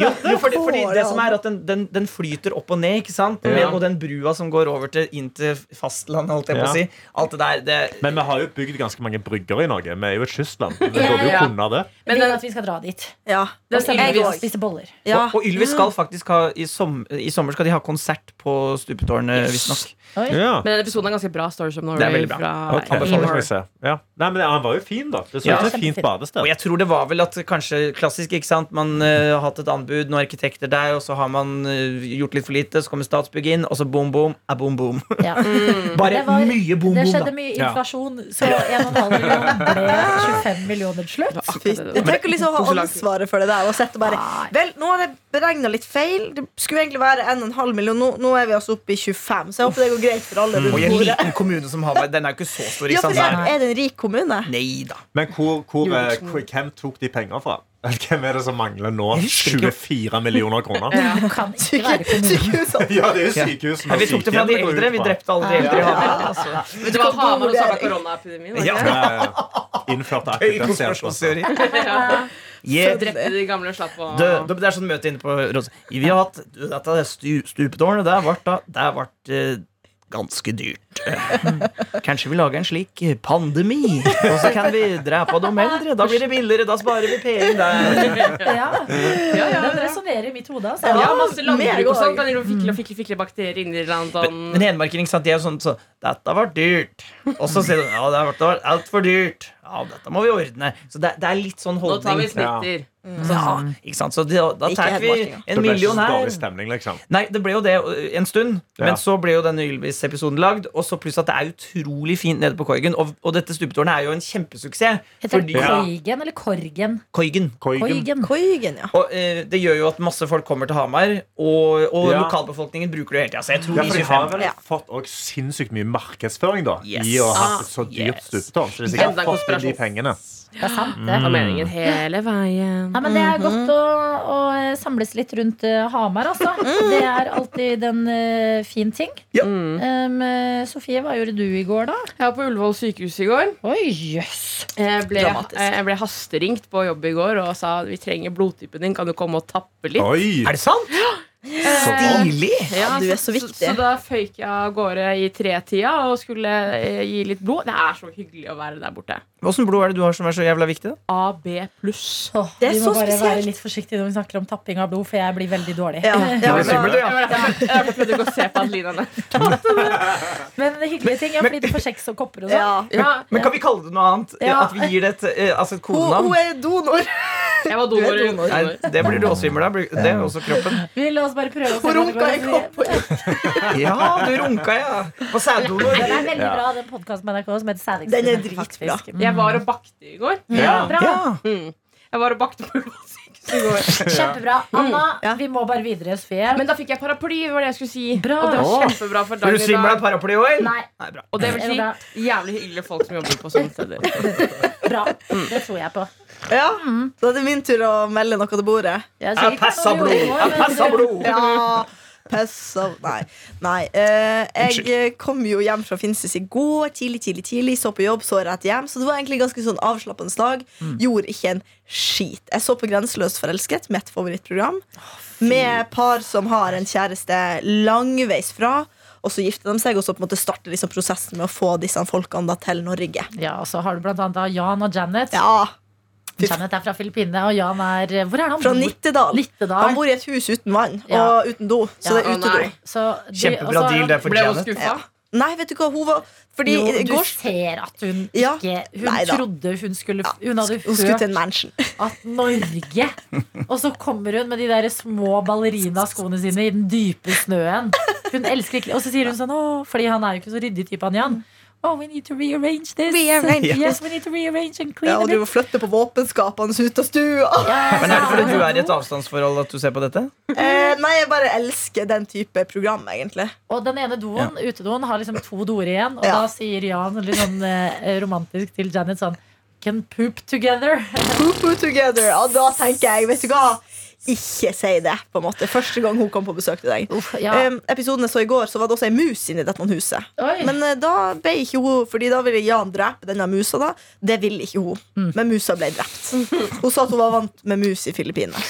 Speaker 6: jo fordi, fordi det som er at den, den, den flyter opp og ned, ikke sant? Men,
Speaker 5: Ja.
Speaker 6: og den brua som går over til, inn til fastlandet, holdt jeg på å si.
Speaker 5: Ja.
Speaker 6: Alt det der, det
Speaker 5: Men vi har jo bygd ganske mange brygger i Norge. Vi er jo et kystland. Vi burde jo
Speaker 3: ja.
Speaker 5: kunne det.
Speaker 3: Men
Speaker 2: Men
Speaker 3: den-
Speaker 2: vil at vi skal dra dit
Speaker 4: Ja.
Speaker 3: Den
Speaker 2: Og sende
Speaker 3: Ylvis-
Speaker 2: oss og spise boller
Speaker 4: ja.
Speaker 6: Og, og Ylvis skal faktisk ha i, som, I sommer skal de ha konsert på Stupetårnet, visstnok.
Speaker 5: Ja.
Speaker 3: Men denne episoden er ganske bra. Stories of Norway
Speaker 6: Det er veldig bra.
Speaker 3: Fra,
Speaker 5: Ok, det skal jeg se. Ja. Nei, men Han var jo fin, da. Det så ut
Speaker 6: Ja.
Speaker 5: som et fint badested.
Speaker 6: Og jeg tror det var vel at kanskje klassisk, ikke sant? Man eh, har hatt et anbud, noen arkitekter der, og så har man eh, gjort litt for lite, så kommer Statsbygg inn, og så boom, boom, er boom, boom.
Speaker 2: ja.
Speaker 4: Mm.
Speaker 6: Bare
Speaker 2: Det var-
Speaker 6: mye boom,
Speaker 2: Det
Speaker 6: boom, Mm. da.
Speaker 2: skjedde mye
Speaker 5: Ja.
Speaker 2: inflasjon Så 1,5 millioner ble 25 millioner til slutt
Speaker 4: Jeg tenker liksom å ha ansvaret for det der. Og sette bare, Vel, nå har jeg beregna litt feil. Det skulle egentlig være 1,5 million. Nå, nå er vi altså oppe i 25, så jeg håper det går greit for alle
Speaker 6: Mm. Og liksom i
Speaker 4: rundt
Speaker 6: en
Speaker 4: bordet.
Speaker 6: liten kommune som Hamar, den er jo ikke så stor,
Speaker 4: Ja,
Speaker 6: ikke
Speaker 4: for
Speaker 6: sant?
Speaker 4: det
Speaker 6: Nei.
Speaker 4: er, er det en rik kommune?
Speaker 6: Nei da.
Speaker 5: Men hvor, hvor, eh, hvor, hvem tok de penger fra? Hvem er det som mangler nå
Speaker 6: Jeg husker ikke.
Speaker 5: 24 millioner kroner?
Speaker 2: Du kan ikke være kommune
Speaker 4: Sykehusene.
Speaker 5: Ja, det er jo sykehusene
Speaker 6: Nei, vi tok det fra de
Speaker 5: sykehjemmene Sånn går
Speaker 6: eldre.
Speaker 5: ut
Speaker 6: Vi
Speaker 5: fra.
Speaker 6: drepte alle de eldre i Hamar. altså.
Speaker 3: Vet du hva, Hamar og starta koronaepidemien. var det
Speaker 6: Ja.
Speaker 3: ikke det?
Speaker 5: Ja, ja, ja. Innført
Speaker 6: Høy
Speaker 5: aktivt dødshjelp.
Speaker 6: konspirasjonsteori. Yeah.
Speaker 3: Drepte de gamle og slapp å
Speaker 6: Du, du, det er sånn møte inne på Rådhuset. Vi har hatt du, dette er stu, stupetårnet. Det ble da Det ble eh, ganske dyrt. Eh, Kanskje vi lager en slik eh, pandemi, og så kan vi drepe de eldre. Da blir det billigere. Da sparer vi penger der.
Speaker 2: ja.
Speaker 3: Ja, ja,
Speaker 2: Den
Speaker 3: ja.
Speaker 2: resonerer i mitt hode altså.
Speaker 3: Ja, masse
Speaker 4: meg
Speaker 3: landbruk og
Speaker 4: også.
Speaker 3: sånn. Kan de fikle, fikle, fikle bakterier inni
Speaker 6: Men
Speaker 3: hverandre?
Speaker 6: hedmarking sant, de er jo sånn så, Dette ble dyrt. Og så sier de ja, det ble altfor dyrt. Ja, dette må vi ordne. Så det, det er litt sånn
Speaker 3: Nå tar vi
Speaker 6: holdning.
Speaker 3: snitter.
Speaker 6: Ja,
Speaker 2: Mm.
Speaker 6: ikke sant? Så det, da
Speaker 4: Ikke
Speaker 6: tar vi
Speaker 4: hedmarkinger.
Speaker 5: Det
Speaker 6: en
Speaker 5: ble ikke
Speaker 6: million
Speaker 5: så
Speaker 6: her.
Speaker 5: dårlig stemning, liksom.
Speaker 6: Nei, det ble jo det ø, en stund,
Speaker 5: Ja.
Speaker 6: men så ble jo denne Ylvis-episoden lagd. Og så pluss at det er utrolig fint nede på Korgen. Og, og dette stupetårnet er jo en kjempesuksess.
Speaker 2: Heter
Speaker 6: Fordi
Speaker 2: det Koigen eller Korgen?
Speaker 6: Korgen.
Speaker 2: Koigen
Speaker 4: Koigen, ja.
Speaker 6: Og ø, det gjør jo at masse folk kommer til Hamar, og, og
Speaker 5: Ja.
Speaker 6: lokalbefolkningen bruker det hele tida. Så jeg tror
Speaker 5: Ja,
Speaker 6: de
Speaker 5: for de
Speaker 6: 25
Speaker 5: har vel
Speaker 4: Ja.
Speaker 5: fått også sinnssykt mye markedsføring da
Speaker 6: Yes.
Speaker 5: i å ha hatt et så
Speaker 6: Ah,
Speaker 5: dyrt
Speaker 6: yes.
Speaker 5: stupetårn. Så de har sikkert
Speaker 3: Enda
Speaker 5: fått inn de
Speaker 3: konspirasjon.
Speaker 5: pengene.
Speaker 2: Det er sant det
Speaker 6: Mm.
Speaker 3: Det var meningen hele veien.
Speaker 2: Nei, men Det er
Speaker 4: Mhm.
Speaker 2: godt å, å samles litt rundt eh, Hamar, altså.
Speaker 4: Mhm.
Speaker 2: Det er alltid en eh, fin ting.
Speaker 6: Ja.
Speaker 3: Mm.
Speaker 2: Um, eh, Sofie, hva gjorde du i går, da?
Speaker 3: Jeg var på Ullevål sykehus i går.
Speaker 2: Oi, jøss!
Speaker 3: Jeg ble, eh,
Speaker 4: Dramatisk.
Speaker 3: jeg ble hasteringt på jobb i går og sa vi trenger blodtypen din. Kan du komme og tappe litt?
Speaker 5: Oi!
Speaker 6: Er det sant?
Speaker 3: Eh,
Speaker 6: Stilig!
Speaker 3: ja,
Speaker 4: du er så viktig.
Speaker 3: Så, så da føyk jeg av gårde i tretida og skulle eh, gi litt blod. Det er så hyggelig å være der borte.
Speaker 6: Åssen blod er det du har som er så jævla viktig? da?
Speaker 3: AB pluss.
Speaker 4: Det er
Speaker 2: vi må
Speaker 4: så
Speaker 2: bare være
Speaker 4: spesielt.
Speaker 2: litt forsiktige når vi snakker om tapping av blod, for jeg blir veldig dårlig.
Speaker 4: Ja, ja,
Speaker 6: det er
Speaker 4: ja.
Speaker 6: skummelt, ja.
Speaker 3: Det var derfor jeg- det var derfor jeg prøvde ikke å se på Adelina. der.
Speaker 2: Men det er hyggelige ting, ja, fordi du får kjeks og kopper og sånn.
Speaker 4: ja.
Speaker 3: Ja,
Speaker 6: Men kan vi kalle det noe annet?
Speaker 2: Ja.
Speaker 6: At vi gir det et, ø, altså et
Speaker 4: Hun, hun
Speaker 6: kodenavn?
Speaker 4: er donor.
Speaker 3: jeg var
Speaker 4: Du
Speaker 3: donor.
Speaker 4: er donor.
Speaker 6: Nei, det blir du også svimmel av. Det er også kroppen.
Speaker 2: Vi La oss bare prøve å se
Speaker 4: Hun
Speaker 2: hvordan det
Speaker 4: runka i
Speaker 2: går.
Speaker 4: koppen.
Speaker 6: Ja, du runka, ja. På
Speaker 2: Den
Speaker 6: sæddonor.
Speaker 2: er veldig bra, den podkasten med NRK som heter Sædekspedienten.
Speaker 4: Den er dritbra.
Speaker 2: faktisk.
Speaker 3: Jeg var og bakte i går.
Speaker 2: Ja, bra.
Speaker 6: Ja.
Speaker 3: Jeg var og bakte på Ullevål sykehus i går.
Speaker 2: Kjempebra. Anna,
Speaker 4: Mm. Ja.
Speaker 2: vi må bare videre, Sofie.
Speaker 3: Men da fikk jeg paraply, var det jeg skulle si.
Speaker 2: Bra.
Speaker 3: Og det var kjempebra for
Speaker 6: Blir
Speaker 3: dagen
Speaker 6: du
Speaker 3: i
Speaker 6: svimmel av
Speaker 3: dag.
Speaker 6: paraply òg?
Speaker 2: Nei,
Speaker 6: Nei, bra.
Speaker 3: Og det vil
Speaker 2: er det bra?
Speaker 3: si jævlig hyggelige folk som jobber på sånne steder.
Speaker 2: bra.
Speaker 4: Mm.
Speaker 2: Det tror jeg på.
Speaker 4: Ja. Da er det min tur å melde noe til bordet.
Speaker 2: Jeg
Speaker 6: Jeg passa blod! Jeg passa blod!
Speaker 4: Ja, pess av Nei. Nei. eh, jeg eh, kom jo hjem fra Finnsnes i går tidlig, tidlig, tidlig. Så på jobb, så rett hjem. Så det var egentlig ganske sånn avslappende dag.
Speaker 2: Mm.
Speaker 4: Gjorde ikke en skit. Jeg så på Grenseløst forelsket, mitt favorittprogram, med par som har en kjæreste langveis fra. Og så gifter de seg, og så på en måte starter liksom prosessen med å få disse folkene da til Norge.
Speaker 2: Ja, og så har du blant annet da Jan og Janet.
Speaker 4: Ja,
Speaker 2: Janet er fra Filippinene, og Jan er eh, Hvor er han?
Speaker 4: Fra
Speaker 2: bor?
Speaker 4: Nittedal. Han
Speaker 2: Nittedal.
Speaker 4: bor i et hus uten vann
Speaker 2: Ja.
Speaker 4: og uten do,
Speaker 2: Ja,
Speaker 4: så det er
Speaker 3: å nei.
Speaker 4: utedo.
Speaker 2: Så de- og så
Speaker 6: Kjempebra
Speaker 2: har
Speaker 6: deal,
Speaker 2: han-
Speaker 6: det er
Speaker 3: Ble hun
Speaker 6: fortjent.
Speaker 3: skuffa?
Speaker 4: Nei, vet du hva, hun var Fordi
Speaker 2: Jo,
Speaker 4: i
Speaker 2: du
Speaker 4: går
Speaker 2: ser at hun
Speaker 4: Ja.
Speaker 2: ikke Hun
Speaker 4: Nei da.
Speaker 2: trodde hun skulle Hun hadde
Speaker 4: Hun skulle
Speaker 2: hørt
Speaker 4: til en mansion.
Speaker 2: at Norge Og så kommer hun med de der små ballerinaskoene sine i den dype snøen. Hun elsker ikke Og så sier hun sånn Å, fordi han er jo ikke så ryddig type, han Jan. Oh, we need to rearrange this.
Speaker 4: Rearrange
Speaker 2: yes, we need to rearrange and clean
Speaker 4: Ja, og
Speaker 2: a bit.
Speaker 4: driver og flytter på våpenskapene ut av stua.
Speaker 2: Ja,
Speaker 6: Men
Speaker 2: så
Speaker 6: er det
Speaker 2: han
Speaker 6: fordi du er i
Speaker 2: god.
Speaker 6: et avstandsforhold at du ser på dette?
Speaker 4: Eh, nei, jeg bare elsker den type program, egentlig.
Speaker 2: Og den ene doen, utedoen, har liksom to doer igjen. Og
Speaker 4: Ja.
Speaker 2: da sier Jan litt sånn eh, romantisk til Janet sånn can poop together.
Speaker 4: Poo-poo together. Og da tenker jeg, vet du hva? Ikke si det, på en måte. Første gang hun kom på besøk til deg.
Speaker 2: Uff, ja.
Speaker 4: Em, episoden jeg så i går, så var det også ei mus inni dette huset.
Speaker 2: Oi.
Speaker 4: Men eh, da ble ikke hun Fordi da ville Jan drepe denne musa, da. Det ville ikke hun.
Speaker 2: Mm.
Speaker 4: Men musa ble drept. Hun sa at hun var vant med mus i Filippinene.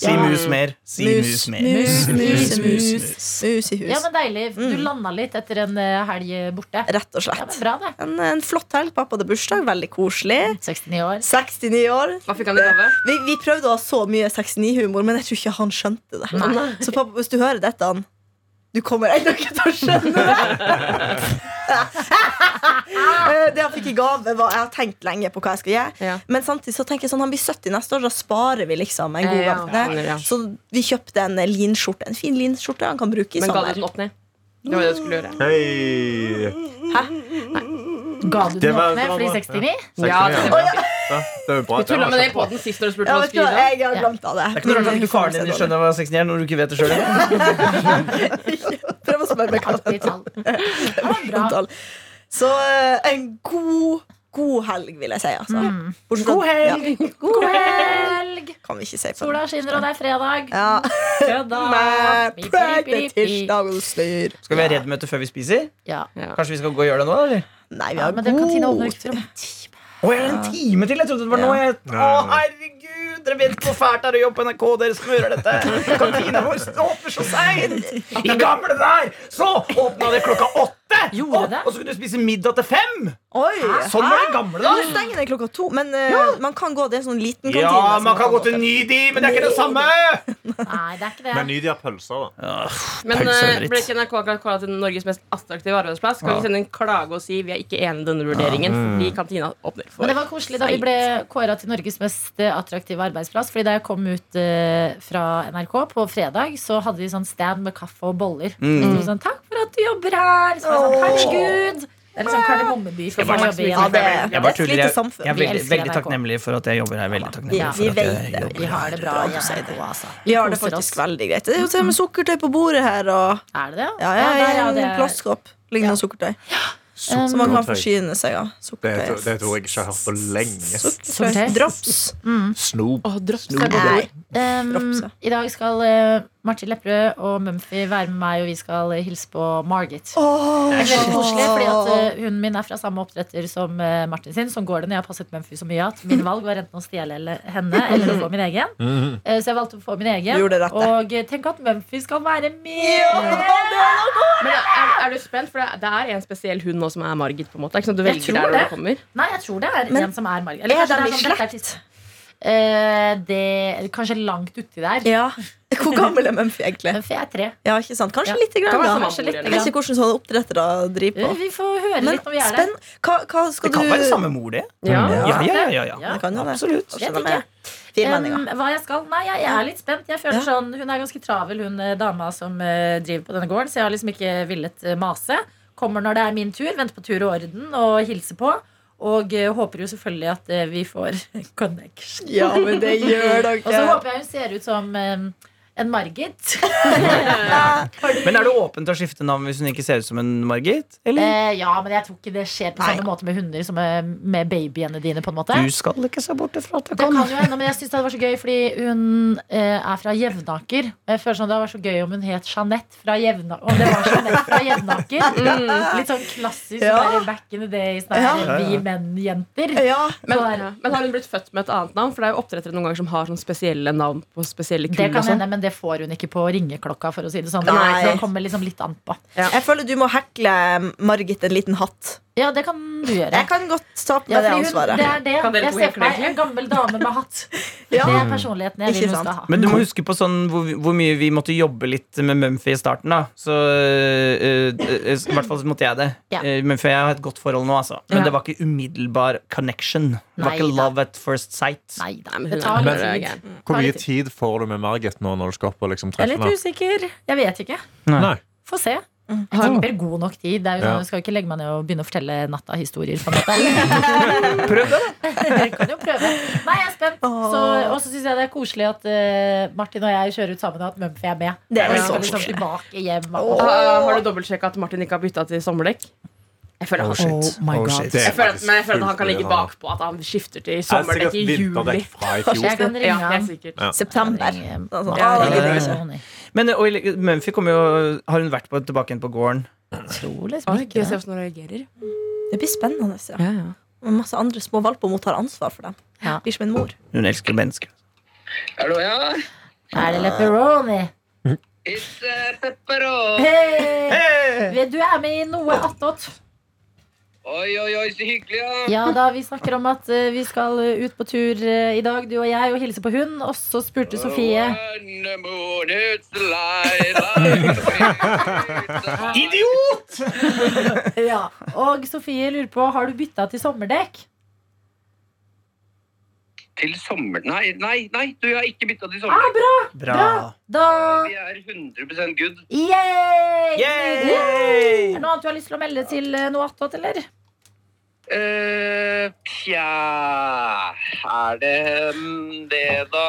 Speaker 6: Si
Speaker 2: Ja.
Speaker 6: mus mer. Si
Speaker 4: Mus,
Speaker 6: mus, mer.
Speaker 4: mus, mus, mus,
Speaker 6: mus.
Speaker 4: mus i hus.
Speaker 2: ja, men deilig. Du
Speaker 4: Mm.
Speaker 2: landa litt etter en eh, helg borte.
Speaker 4: Rett og
Speaker 2: Ja, men
Speaker 4: slett.
Speaker 2: Bra, det.
Speaker 4: En, en flott helg. Pappa hadde bursdag. Veldig koselig.
Speaker 2: 69 år.
Speaker 4: 69 år.
Speaker 3: Hva fikk han i gave?
Speaker 4: Vi, vi prøvde å ha så mye 69-humor, men jeg tror ikke han skjønte det. Så pappa, hvis du hører dette, han Du kommer ennå ikke til å skjønne det! Eh, det han fikk i gave, var Jeg har tenkt lenge på hva jeg skal gjøre.
Speaker 3: Ja.
Speaker 4: Men samtidig så tenker jeg sånn han blir 70 neste år, da sparer vi liksom en god
Speaker 3: Eh, ja,
Speaker 4: gang for
Speaker 3: ja,
Speaker 4: det.
Speaker 3: ja.
Speaker 4: Så vi kjøpte en linskjorte. En fin linskjorte han kan bruke i
Speaker 3: Men ga du
Speaker 4: sommer.
Speaker 3: den opp ned? Det var det du skulle gjøre.
Speaker 5: Hei!
Speaker 2: Ga du den opp ned
Speaker 5: Det var- det var
Speaker 2: fordi
Speaker 5: bra,
Speaker 2: 69?
Speaker 3: Ja, det var bra.
Speaker 5: Ja, det er jo bra.
Speaker 3: Du tulla med
Speaker 5: Det var
Speaker 3: det på
Speaker 5: kjempebra.
Speaker 3: den sist da du spurte
Speaker 4: Ja,
Speaker 3: hva du
Speaker 4: vet du
Speaker 3: skulle gi
Speaker 4: hva,
Speaker 3: deg.
Speaker 4: jeg har
Speaker 2: Ja.
Speaker 4: glemt av det.
Speaker 6: Det er ikke noe rart at ikke faren din skjønner hva 69 er, når du ikke vet det sjøl.
Speaker 4: Prøv å spørre meg hva det
Speaker 2: Alltid tall. Ja, men bra.
Speaker 4: antall. Så eh, en god, god helg, vil jeg si. Altså.
Speaker 2: Mm.
Speaker 4: Bortsett fra-
Speaker 6: God helg!
Speaker 4: Ja,
Speaker 2: God helg!
Speaker 4: kan vi ikke si på
Speaker 2: Sola skinner, og det er fredag.
Speaker 4: Ja.
Speaker 2: Kødda!
Speaker 4: Med
Speaker 2: Pip, pip, pip, pip.
Speaker 4: Pride-tirsdag og styr.
Speaker 6: Skal vi ha reddmøte før vi spiser?
Speaker 2: Ja.
Speaker 6: Kanskje vi skal gå og gjøre det nå? eller?
Speaker 4: Nei, vi
Speaker 2: Ja,
Speaker 4: har
Speaker 2: men den kantina
Speaker 4: god
Speaker 2: åpner ikke
Speaker 4: tid.
Speaker 2: for om en time.
Speaker 6: Å, jeg har en time til! Jeg trodde det var nå. Jeg... Å, herregud! Dere vet hvor fælt det er å jobbe på NRK. Dere smører dette. Kantina vår åpner så seint! I gamle der så åpna det klokka åtte!
Speaker 2: Gjorde det?
Speaker 6: Og, og så kunne du spise middag til fem!
Speaker 4: Oi!
Speaker 6: Sånn var det i gamle
Speaker 4: Ja, nå
Speaker 6: dager.
Speaker 4: stenger den klokka to, men eh, man kan gå. Det er en sånn liten kantine.
Speaker 6: Ja,
Speaker 4: som
Speaker 6: man kan gå til
Speaker 4: til.
Speaker 6: Nydi, men det er ikke det samme!
Speaker 2: Nei, det er ikke
Speaker 5: Men
Speaker 2: det.
Speaker 5: ny de har pølser, da.
Speaker 3: Men eh,
Speaker 6: Pølse eller dritt.
Speaker 3: ble ikke NRK kåra til Norges mest attraktive arbeidsplass? Kan vi sende en klage og si vi er ikke enig i denne vurderingen fordi kantina åpner for
Speaker 2: Men det var koselig da vi ble kåra til Norges mest eh, attraktive arbeidsplass. Fordi da jeg kom ut eh, fra NRK på fredag, så hadde de sånn stand med kaffe og boller.
Speaker 4: Mm.
Speaker 2: Så det var sånn, 'Takk for at du jobber her!' Så var jeg sånn, Herregud! Det er liksom Kardemommeby. for
Speaker 3: Jeg bare-
Speaker 2: å jobbe i
Speaker 4: Ja,
Speaker 2: NRK.
Speaker 4: det, det
Speaker 6: Jeg
Speaker 4: er
Speaker 6: bare
Speaker 4: et
Speaker 6: tuller.
Speaker 4: lite
Speaker 6: Jeg,
Speaker 4: samfunn.
Speaker 6: jeg er veldig,
Speaker 2: elsker
Speaker 6: veldig
Speaker 2: NRK.
Speaker 6: takknemlig for at jeg jobber her. Veldig takknemlig
Speaker 4: Ja,
Speaker 6: for
Speaker 4: vi
Speaker 6: at jeg
Speaker 4: vet det.
Speaker 6: jobber
Speaker 2: Vi har det bra.
Speaker 4: Bra,
Speaker 2: i
Speaker 4: du sier det.
Speaker 2: NRK, altså.
Speaker 4: Vi har det
Speaker 2: koser
Speaker 4: faktisk
Speaker 2: oss.
Speaker 4: veldig greit. Det er jo til og med sukkertøy på bordet her. Og,
Speaker 2: Er det det?
Speaker 4: ja, ja,
Speaker 2: der er Mm.
Speaker 4: en
Speaker 2: det-
Speaker 4: plastkopp lignende sukkertøy. Som man kan forsyne seg av.
Speaker 7: Det,
Speaker 4: Sukkertøy.
Speaker 7: det tror jeg ikke jeg har hørt på lenge.
Speaker 4: Sukkertøy.
Speaker 2: Sukkertøy.
Speaker 4: Drops.
Speaker 3: Mm.
Speaker 5: Snop.
Speaker 3: Å, drops er godt
Speaker 4: Nei.
Speaker 3: ord.
Speaker 2: Um,
Speaker 4: Drops, ja.
Speaker 2: I dag skal eh, Martin Lepperød og Mumphy være med meg, og vi skal eh, hilse på Margit. Det er veldig koselig, fordi at eh, Hunden min er fra samme oppdretter som eh, Martin sin. Sånn går det når jeg har passet Mumphy så mye at mine valg var enten å stjele eller- henne eller å få min egen. Eh, så jeg valgte å få min
Speaker 4: Du
Speaker 2: egen.
Speaker 4: gjorde rett, det.
Speaker 2: Og eh, tenk at Mumphy skal være med!
Speaker 3: Men er, er du spent? For det, det er en spesiell hund nå som er Margit. på en måte. Ikke sant? Du
Speaker 2: Jeg
Speaker 3: velger
Speaker 2: tror
Speaker 3: der når
Speaker 2: det.
Speaker 3: du kommer.
Speaker 2: Nei, jeg tror det er
Speaker 4: Men
Speaker 2: en som er Margit.
Speaker 4: er
Speaker 2: kanskje
Speaker 4: de
Speaker 2: det
Speaker 4: i
Speaker 2: sånn, dette er tids- Eh, det, kanskje langt uti der.
Speaker 4: Ja. Hvor gammel er Mumphy egentlig?
Speaker 2: Mumphy er tre.
Speaker 4: Ja, ikke sant? Kanskje
Speaker 2: Ja.
Speaker 4: litt lite
Speaker 3: Kan være
Speaker 4: grann, da.
Speaker 3: samme.
Speaker 2: Kanskje litt
Speaker 4: Jeg vet
Speaker 2: grann.
Speaker 4: ikke hvordan sånne oppdrettere driver
Speaker 2: Eh,
Speaker 4: på.
Speaker 2: Vi får høre
Speaker 4: Men
Speaker 2: litt når vi er der.
Speaker 4: spenn Hva, hva skal
Speaker 6: Det kan
Speaker 4: du
Speaker 6: være samme mor, det.
Speaker 3: Ja.
Speaker 6: Ja, ja, ja,
Speaker 2: Ja,
Speaker 6: ja, ja.
Speaker 4: Det kan jo det.
Speaker 6: Absolutt.
Speaker 4: Skjønner
Speaker 2: Vet
Speaker 4: meg. Fire meninger.
Speaker 2: Um, hva jeg skal? Nei, jeg, jeg er litt spent. Jeg føler sånn, Hun er ganske travel, hun eh, dama som eh, driver på denne gården. Så jeg har liksom ikke villet eh, mase. Kommer når det er min tur. Venter på tur og orden og hilser på. Og eh, håper jo selvfølgelig at eh, vi får connection.
Speaker 4: Ja, men det gjør
Speaker 2: Og så
Speaker 4: dere.
Speaker 2: håper jeg hun ser ut som eh, en Margit.
Speaker 6: Men er du åpen til å skifte navn hvis hun ikke ser ut som en Margit? Eller?
Speaker 2: Eh, ja, men jeg tror ikke det skjer på
Speaker 4: Nei.
Speaker 2: samme måte med hunder som eh, med babyene dine. på en måte
Speaker 6: Du skal ikke se bort ifra at jeg
Speaker 2: Det
Speaker 6: kan.
Speaker 2: kan jo hende, men jeg synes det hadde vært så gøy Fordi hun eh, er fra Jevnaker Og jeg føler sånn det hadde vært så gøy om hun het Jeanette fra Jevnaker Om det var Jeanette fra Jevnaker Litt sånn klassisk
Speaker 4: Ja.
Speaker 2: sånn der Back in the days der,
Speaker 4: Ja.
Speaker 2: Vi menn-jenter
Speaker 4: Ja,
Speaker 3: Men,
Speaker 2: Så der.
Speaker 3: men har hun blitt født med et annet navn? For det er jo oppdrettere noen ganger som har sånn spesielle navn på spesielle
Speaker 2: Det
Speaker 3: kull.
Speaker 2: kan
Speaker 3: og sånn.
Speaker 2: hende, men det får hun ikke på ringeklokka For å si det sånn
Speaker 4: Nei.
Speaker 2: Så det kommer liksom litt an på
Speaker 4: jeg føler du må hekle Margit en liten hatt.
Speaker 2: Ja, det kan du gjøre
Speaker 4: Jeg kan godt ta på
Speaker 2: ja,
Speaker 4: meg det
Speaker 2: fordi hun,
Speaker 4: ansvaret.
Speaker 2: det er det.
Speaker 3: Kan dere
Speaker 2: Jeg
Speaker 3: to
Speaker 2: ser
Speaker 3: hekle,
Speaker 2: for meg
Speaker 3: egentlig?
Speaker 2: en gammel dame med hatt
Speaker 4: Ja.
Speaker 2: Det er personligheten jeg
Speaker 4: Ikke
Speaker 2: vil hun
Speaker 4: sant.
Speaker 2: skal ha
Speaker 6: Men du må huske på sånn hvor, hvor mye vi måtte jobbe litt med Mumphy i starten. da Så øh, øh, I hvert fall så måtte jeg det.
Speaker 2: Ja.
Speaker 6: Eh, Mumphy og jeg har et godt forhold nå, altså. Men
Speaker 3: Ja.
Speaker 6: det var ikke umiddelbar connection. Det var
Speaker 2: Nei
Speaker 6: ikke
Speaker 2: da.
Speaker 6: love at first sight.
Speaker 2: Nei da,
Speaker 3: Nei, men
Speaker 2: det
Speaker 3: hun
Speaker 2: tar
Speaker 3: er-
Speaker 2: litt
Speaker 3: hun er
Speaker 2: tid
Speaker 3: gæren.
Speaker 5: Hvor
Speaker 2: Ta
Speaker 5: mye
Speaker 2: litt
Speaker 5: tid får du med Margit nå når du skal opp og liksom
Speaker 2: Jeg er
Speaker 5: treffe
Speaker 2: litt
Speaker 5: henne?
Speaker 2: usikker, jeg vet ikke
Speaker 5: Nei.
Speaker 2: Få se. Jeg tipper god nok tid. Det er jo sånn,
Speaker 5: Ja.
Speaker 2: Jeg skal jo ikke legge meg ned og begynne å fortelle natta-historier. på en måte.
Speaker 6: Prøv det, da!
Speaker 2: Jeg kan jo prøve. Nei, jeg er spent. Så, og så syns jeg det er koselig at eh, Martin og jeg kjører ut sammen, og at Mumphy er med.
Speaker 4: Det er
Speaker 2: Vi
Speaker 4: så
Speaker 2: skal liksom
Speaker 4: koselig.
Speaker 2: tilbake hjem.
Speaker 3: Ah, Har du dobbeltsjekka at Martin ikke har bytta til sommerdekk? Jeg føler
Speaker 7: Oh,
Speaker 3: han,
Speaker 7: shit.
Speaker 2: Oh my
Speaker 7: Oh,
Speaker 2: god.
Speaker 7: shit.
Speaker 3: jeg føler at, men jeg føler at han
Speaker 7: Faktisk
Speaker 3: kan ligge
Speaker 7: fullkommen.
Speaker 3: bakpå at han skifter til
Speaker 5: Jeg er
Speaker 3: sommerdekk i
Speaker 5: sikkert
Speaker 3: juli.
Speaker 5: vinterdekk fra i fjor.
Speaker 2: Jeg kan ringe
Speaker 3: Ja,
Speaker 2: han.
Speaker 3: helt sikkert.
Speaker 4: September.
Speaker 2: Ringe-
Speaker 4: Sånn, sånn,
Speaker 3: Ja,
Speaker 4: ah, det
Speaker 6: ja,
Speaker 4: gidder
Speaker 6: ja,
Speaker 4: vi ikke.
Speaker 2: Sony.
Speaker 6: Men og, i- Mumphy kommer jo Har hun vært på, tilbake igjen på gården?
Speaker 2: Tror
Speaker 3: Oi,
Speaker 2: liksom
Speaker 3: gøy,
Speaker 2: ikke
Speaker 3: se
Speaker 2: det.
Speaker 3: hvordan han reagerer.
Speaker 4: Det blir spennende. Ja. Og masse andre små valper må ta ansvar for dem.
Speaker 2: Ja.
Speaker 4: Blir som en mor.
Speaker 6: Hun elsker mennesker.
Speaker 8: Hallo, ja.
Speaker 2: Er det Leperoni?
Speaker 8: It's uh, Pepperoni.
Speaker 2: Hei! Du er med i noe attåt.
Speaker 8: Oi, oi, oi, så hyggelig, ja.
Speaker 2: Ja da, Vi snakker om at eh, vi skal eh, ut på tur eh, i dag, du og jeg, og hilse på hun. Og så spurte Sofie
Speaker 8: When the moon hits the light, light.
Speaker 6: Idiot!
Speaker 2: ja. Og Sofie lurer på har du bytta til sommerdekk.
Speaker 8: Til sommer... Nei, nei, nei, du har ikke bytta til
Speaker 2: Ah,
Speaker 8: sommer.
Speaker 2: bra!
Speaker 6: Bra.
Speaker 2: Da
Speaker 8: Vi er 100 good.
Speaker 2: Yay!
Speaker 6: Yay!
Speaker 2: Er det noe annet du har lyst til å melde til eh, noe attåt, eller?
Speaker 8: Eh, tja Er det mm, det, da?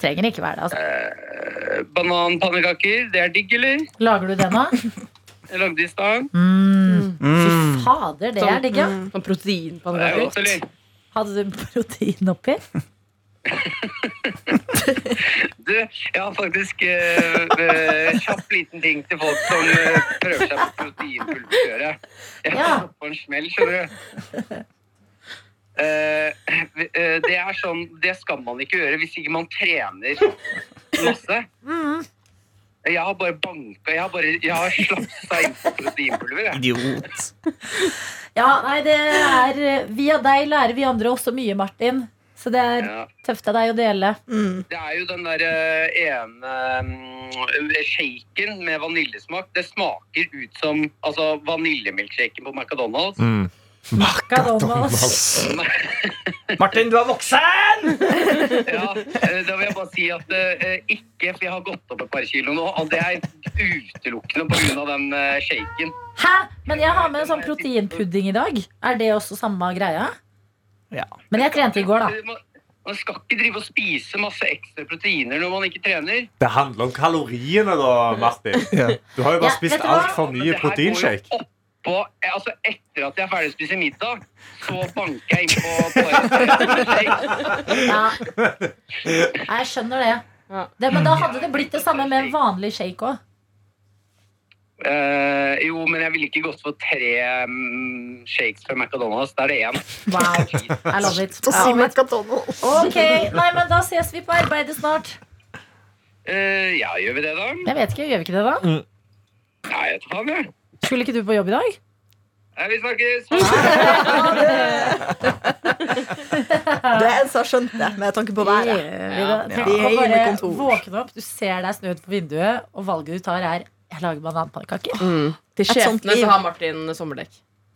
Speaker 2: Trenger ikke være det. altså.
Speaker 8: Eh, Bananpannekaker, det er digg, eller?
Speaker 2: Lager du det nå?
Speaker 8: Jeg lagde i stad.
Speaker 2: Mm. Fy
Speaker 6: Mm.
Speaker 2: fader, det er digg, ja.
Speaker 3: Sånn
Speaker 8: Det er godt,
Speaker 3: proteinpannekaker.
Speaker 8: eller?
Speaker 2: Hadde du protein oppi?
Speaker 8: Du, jeg har faktisk eh, eh, kjapp liten ting til folk som eh, prøver seg på proteinpulverkjøret. Jeg
Speaker 2: Ja.
Speaker 8: har gått på en smell, skjønner du. Eh, eh, det er sånn Det skal man ikke gjøre hvis ikke man trener masse. Jeg har bare banka Jeg har bare Jeg har slapsa inn på proteinpulver, jeg.
Speaker 6: Idiot.
Speaker 2: Ja, nei, det er Via deg lærer vi andre også mye, Martin. Så det er
Speaker 8: Ja.
Speaker 2: tøft av deg å dele.
Speaker 4: Mm.
Speaker 8: Det er jo den der eh, ene mm, shaken med vaniljesmak. Det smaker ut som altså, vaniljemilkshaken på McDonald's.
Speaker 2: McDonald's.
Speaker 6: Martin, du er voksen!
Speaker 8: Ja, eh, da vil jeg bare si at eh, ikke, for jeg har gått opp et par kilo nå, og det er utelukkende på grunn av den eh, shaken.
Speaker 2: Hæ? Men jeg har med en sånn proteinpudding i dag. Er det også samme greia?
Speaker 6: Ja.
Speaker 2: Men jeg trente i går, da.
Speaker 8: Eh, Man, man skal ikke drive og spise masse ekstra proteiner når man ikke trener.
Speaker 5: Det handler om kaloriene, da, Martin. Du har
Speaker 2: Ja,
Speaker 5: jo bare
Speaker 2: vet
Speaker 5: spist
Speaker 2: du hva?
Speaker 5: altfor mye
Speaker 8: Det her går jo
Speaker 5: proteinshake.
Speaker 8: oppå, eh, altså etter at jeg er ferdig å spise middag, så banker jeg innpå bare
Speaker 2: Ja. Jeg skjønner det. det. Men da hadde det blitt det samme med en vanlig shake òg.
Speaker 8: Eh, Jo, men jeg ville ikke gått for tre mm, shakes fra McDonald's. Da er det én.
Speaker 2: Wow. I love it. I love it. Ok, Nei, men da ses vi på arbeidet snart.
Speaker 8: Eh, ja, gjør vi det, da?
Speaker 2: Jeg vet ikke, Gjør vi ikke det, da?
Speaker 8: Nei, jeg tar det.
Speaker 2: Skulle ikke du på jobb i dag?
Speaker 8: Eh, Vi snakkes! Ha det!
Speaker 4: Det er en som har skjønt det, med tanke på været.
Speaker 2: Ja, Tenk
Speaker 4: Ja.
Speaker 2: å bare
Speaker 4: Hele kontor.
Speaker 2: våkne opp, du ser deg snø utenfor vinduet, og valget du tar, er jeg lager bananpannekaker.
Speaker 3: Til
Speaker 4: Et sånt
Speaker 3: sjefene
Speaker 4: liv.
Speaker 3: så har Martin sommerdekk.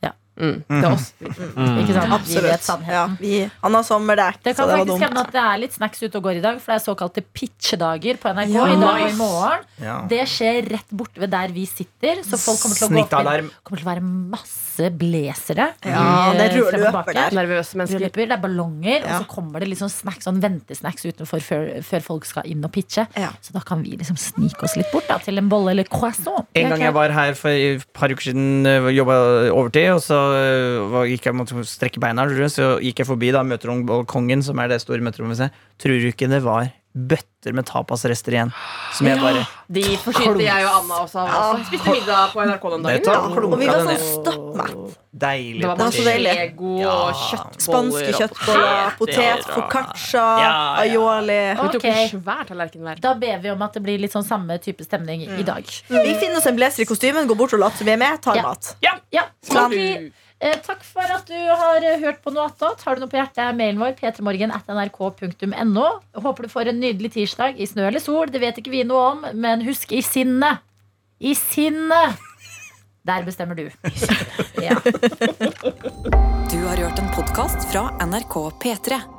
Speaker 2: Ja.
Speaker 3: Mm. Det er oss.
Speaker 2: Ikke sant? Vi vet
Speaker 4: Mm. Absolutt.
Speaker 2: sannheten.
Speaker 4: Ja, vi, han har sommerdekk,
Speaker 2: Det
Speaker 4: så
Speaker 2: kan
Speaker 4: det var
Speaker 2: faktisk
Speaker 4: dumt.
Speaker 2: hende at det er litt snacks ute og går i dag, for det er såkalte pitchedager på NRK
Speaker 4: Ja.
Speaker 2: i dag og i
Speaker 3: Nice.
Speaker 2: morgen.
Speaker 6: Ja.
Speaker 2: Det skjer rett borte ved der vi sitter, så folk kommer til å gå opp i-
Speaker 6: Snittalarm.
Speaker 2: kommer til å være masse blazere.
Speaker 4: Ja,
Speaker 2: i,
Speaker 4: det er
Speaker 2: eh,
Speaker 4: rød
Speaker 2: frem og bak
Speaker 4: løper der.
Speaker 3: Nervøse
Speaker 2: Rød
Speaker 3: mennesker.
Speaker 2: løper, det er ballonger,
Speaker 4: Ja.
Speaker 2: og så kommer det litt sånn snacks, sånn ventesnacks utenfor før, før folk skal inn og pitche.
Speaker 4: Ja.
Speaker 2: Så da kan vi liksom snike oss litt bort da, til en bolle eller croissant.
Speaker 6: En gang jeg var her for et par uker siden, jobba overtid, og så øh, var- gikk jeg måtte strekke beina, tror jeg, så gikk jeg forbi da møterombalkongen, som er det store møterommet vi ser. Tror du ikke det var bøtter med tapasrester igjen? Som jeg bare
Speaker 3: De forsynte jeg og Anna også av. Altså. Vi Spiste middag på NRK den
Speaker 6: Vet
Speaker 3: dagen.
Speaker 6: du hva?
Speaker 3: Ja.
Speaker 4: Og vi var
Speaker 6: Klunka det
Speaker 4: sånn
Speaker 6: ned.
Speaker 4: stappmett.
Speaker 6: Deilig.
Speaker 3: Det var
Speaker 4: var
Speaker 3: bare
Speaker 4: så
Speaker 6: potet.
Speaker 4: deilig.
Speaker 3: Lego
Speaker 6: Ja.
Speaker 3: og kjøttboller.
Speaker 4: Spanske
Speaker 3: og-
Speaker 4: kjøttboller,
Speaker 6: Helt
Speaker 4: potet,
Speaker 6: rå.
Speaker 4: foccaccia,
Speaker 6: Ja, ja.
Speaker 4: aioli.
Speaker 3: Vi tok
Speaker 2: Ok.
Speaker 3: en svær tallerken hver.
Speaker 2: Da ber vi om at det blir litt sånn samme type stemning i dag.
Speaker 4: Vi finner oss en blazer i kostymen, går bort og later som vi er med, tar
Speaker 2: Ja.
Speaker 4: mat.
Speaker 2: Ja,
Speaker 4: Plan.
Speaker 2: Sofie, eh, takk for at du har eh, hørt på noe attåt. Har du noe på hjertet, er mailen vår p3morgen.nrk.no. Håper du får en nydelig tirsdag i snø eller sol. Det vet ikke vi noe om, men husk i sinnet. I sinnet! Der bestemmer du. Ja.
Speaker 1: Du har hørt en podkast fra NRK P3.